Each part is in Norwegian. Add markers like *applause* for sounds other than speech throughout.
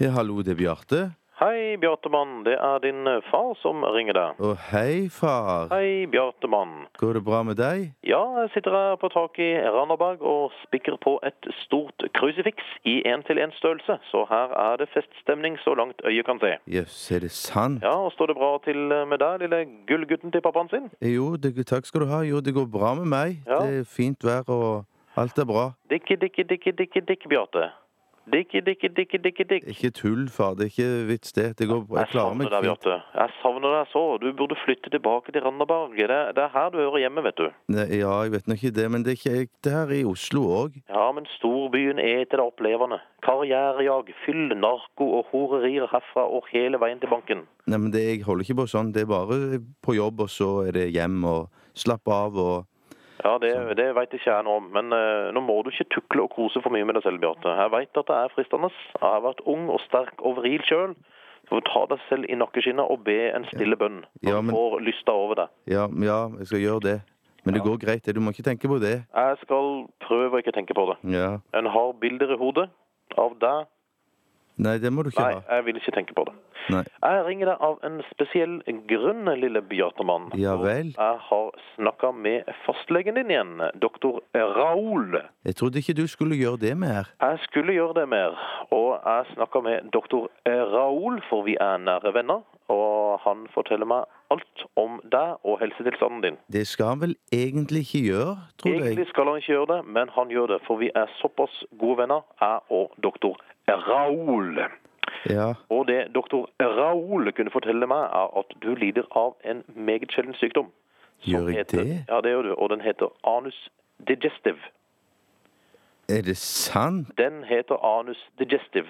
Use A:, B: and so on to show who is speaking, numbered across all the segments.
A: Ja, hallo, det er Bjarte.
B: Hei, Bjartemann. Det er din eh, far som ringer deg.
A: Å, hei, far.
B: Hei, Bjartemann.
A: Går det bra med deg?
B: Ja, jeg sitter her på taket i Randaberg og spikker på et stort krusifiks i 1-til-1-størrelse, så her er det feststemning så langt øyet kan se.
A: Jøss, er det sant?
B: Ja, og står det bra til eh, med deg, lille gullgutten til pappaen sin?
A: Eh, Jo, det, takk skal du ha. Jo, det går bra med meg.
B: Ja.
A: Det er fint vær, og alt er bra.
B: Dikke, dikke, dikke, dikke, dikke, Bjarte. Dikke, dikke, dikke, dikke, dikke.
A: Ikke tull, far. Det er ikke vits, det. Det går bra. Jeg
B: Jeg
A: Eh, klarer
B: savner
A: meg
B: deg,
A: fint.
B: Bjarte. Jeg savner deg så. Du burde flytte tilbake til Randaberg. Det, det er her du hører hjemme, vet du.
A: Nei, Ja, jeg vet nå ikke det, men det er ikke jeg. Det her i Oslo òg.
B: Ja, men storbyen er til deg opplevende. Karrierejag, fyll, narko og horerier herfra og hele veien til banken.
A: Nei, men det, jeg holder ikke på sånn. Det er bare på jobb, og så er det hjem, og slapp av, og
B: Ja, det, det veit ikke jeg noe om, men eh, nå må du ikke tukle og kose for mye med deg selv, Bjarte. Jeg veit at det er fristende. Jeg har vært ung og sterk og vril sjøl. Så får du ta deg selv i nakkeskinnet og be en stille bønn når
A: Ja,
B: du
A: men-
B: får lysta over deg.
A: ja, ja, jeg skal gjøre det. Men det går greit. det. Du må ikke tenke på det.
B: Jeg skal prøve å ikke tenke på det.
A: Ja.
B: En har bilder i hodet av deg.
A: Nei, det må du ikke
B: Nei,
A: ha.
B: jeg vil ikke tenke på det.
A: Nei.
B: Jeg ringer deg av en spesiell grunn, lille Bjartemann.
A: Ja vel.
B: Jeg har snakka med fastlegen din igjen, doktor Raoul.
A: Jeg trodde ikke du skulle gjøre det mer.
B: Jeg skulle gjøre det mer, og jeg snakka med doktor Raoul, for vi er nære venner. Og han forteller meg alt om deg og helsetilstanden din.
A: Det skal han vel egentlig ikke gjøre, tror jeg.
B: Egentlig skal han ikke gjøre det, men han gjør det, for vi er såpass gode venner, jeg og doktor Raoul.
A: Ja.
B: Og det doktor Raoul kunne fortelle meg, er at du lider av en meget sjelden sykdom. som
A: Gjør jeg
B: heter,
A: det?
B: Ja, det gjør du. Og den heter anus digestive.
A: Er det sant?
B: Den heter anus digestive.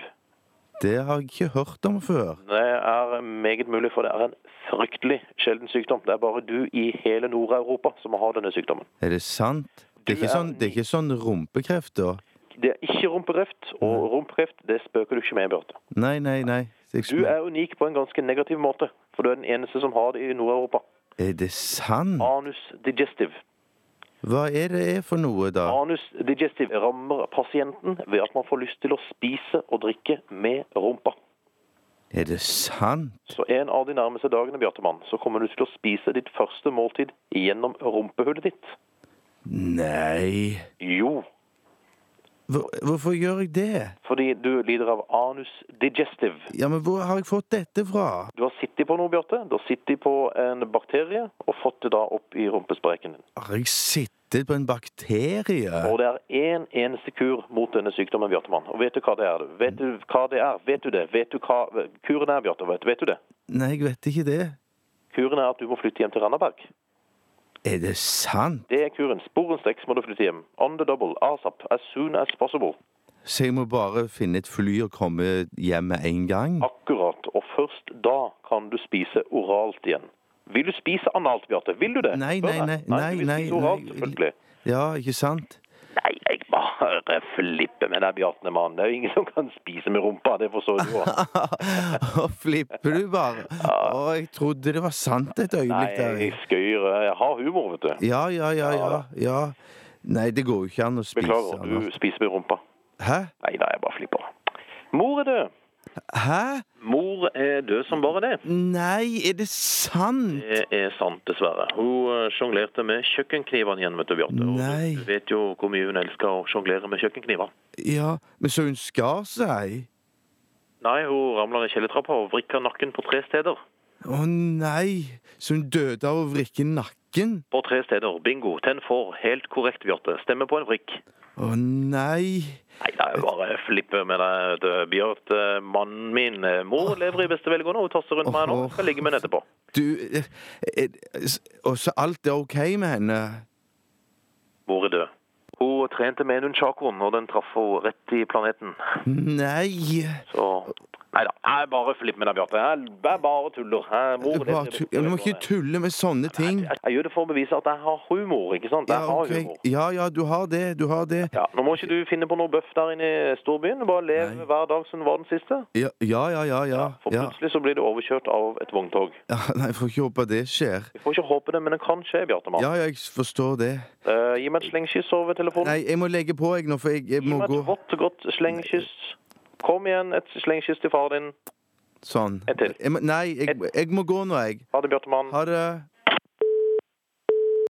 A: Det har jeg ikke hørt om før.
B: Det er meget mulig, for det er en fryktelig sjelden sykdom. Det er bare du i hele Nord-Europa som har denne sykdommen.
A: Er det sant? Det er
B: Du
A: ikke
B: er
A: sånn, det er ikke sånn rumpekreft, da?
B: Det er ikke rumpekreft, og rumpekreft det spøker du ikke med, Bjarte.
A: Nei, nei, nei. Jeg
B: Du er unik på en ganske negativ måte, for du er den eneste som har det i Nord-Europa.
A: Er det sant?
B: Anus digestive.
A: Hva er det er for noe, da?
B: Anus digestive rammer pasienten ved at man får lyst til å spise og drikke med rumpa.
A: Er det sant?
B: Så en av de nærmeste dagene, Bjartemann, så kommer du til å spise ditt første måltid gjennom rumpehullet ditt.
A: Nei
B: Jo,
A: Hvor, Hvorfor gjør jeg det?
B: fordi du lider av anus digestive.
A: Ja, men Hvor har jeg fått dette fra?
B: Du har sittet på noe, Bjarte. Du har sittet på en bakterie og fått det da opp i rumpespreken din.
A: Har jeg sittet på en bakterie?
B: Og det er én eneste kur mot denne sykdommen, Bjartemann. Og vet du hva det er? du? Vet du hva det er? Vet du det? Vet du hva kuren er, Bjarte? Vet vet du det?
A: Nei, jeg vet ikke det.
B: Kuren er at du må flytte hjem til Randaberg.
A: Er det sant?
B: Det er kuren. Sporenstreks må du flytte hjem. On the double, asap, as soon as possible.
A: Så jeg må bare finne et fly og komme hjem med en gang?
B: Akkurat. Og først da kan du spise oralt igjen. Vil du spise analt, Bjarte? Vil du det?
A: Nei,
B: Spør
A: nei, nei,
B: meg. du
A: nei,
B: vil
A: nei,
B: spise oralt,
A: nei.
B: selvfølgelig.
A: Ja, ikke sant? *laughs*
B: Nei, jeg bare flipper med deg, Bjarte, mann. Det er jo ingen som kan spise med rumpa, det forstår du òg.
A: Og flipper du
B: *laughs*
A: bare? Å, jeg trodde det var sant et
B: Nei,
A: øyeblikk der.
B: jeg skøyer. Jeg har humor, vet du.
A: Ja, ja, ja, ja. ja. Nei, det går jo ikke an å spise
B: Beklager,
A: Anders.
B: du spiser med rumpa.
A: Hæ?
B: Nei da, jeg bare flipper. Mor er død.
A: Hæ?
B: Mor er død som bare det.
A: Nei, er det sant?
B: Det er sant, dessverre. Hun eh, sjonglerte med kjøkkenknivene igjen, vet du, Bjarte. Og
A: Nei.
B: Du vet jo hvor mye hun elsker å sjonglere med kjøkkenkniver.
A: Ja, men så hun skar seg?
B: Nei, hun ramla ned kjellertrappa og vrikka nakken på tre steder.
A: Å nei, så hun døde av å vrikke nakken?
B: På tre steder. Bingo. Tenn for. Helt korrekt, Bjarte. Stemme på en vrikk.
A: Å nei.
B: Nei, det er jo bare flippe med deg, vet du, Bjarte. Mannen min eh, Mor lever i beste velgående. Hun tasser rundt meg nå. Skal ligge med henne etterpå.
A: Du eh, eh, s- Og så alt er OK med henne?
B: Mor er død. Hun trente med en unchacoen, og den traff henne rett i planeten.
A: Nei.
B: Så Nei da. Jeg bare flipper med deg, Bjarte. Jeg, jeg bare tuller. Jeg, mor,
A: Du bare
B: lever i
A: tu-
B: beste
A: ja, du må
B: velgående.
A: ikke tulle med sånne ting.
B: Jeg, jeg gjør det for å bevise at jeg har humor, ikke sant? Jeg
A: Ja, ok.
B: har humor.
A: ja, ja, du har det. Du har det.
B: Ja, nå må ikke du finne på noe bøff der inne i storbyen. Bare lev
A: Nei.
B: hver dag som den var den siste.
A: Ja, ja, ja. ja, ja.
B: For
A: ja.
B: plutselig så blir du overkjørt av et vogntog.
A: ja nei, jeg får ikke håpe det skjer.
B: Vi får ikke håpe det, men det kan skje, Bjartemann.
A: Ja, ja, jeg forstår det.
B: Eh, gi meg et slengkyss over telefonen.
A: Nei, jeg må legge på, jeg nå, for jeg, jeg
B: gi
A: må
B: meg
A: gå.
B: et vått, godt slengkyss. Kom igjen, et slengkyss til far din.
A: Sånn.
B: En til.
A: Jeg, må- nei, jeg, jeg må gå nå, jeg.
B: Ha det, Bjartemann.
A: Ha det.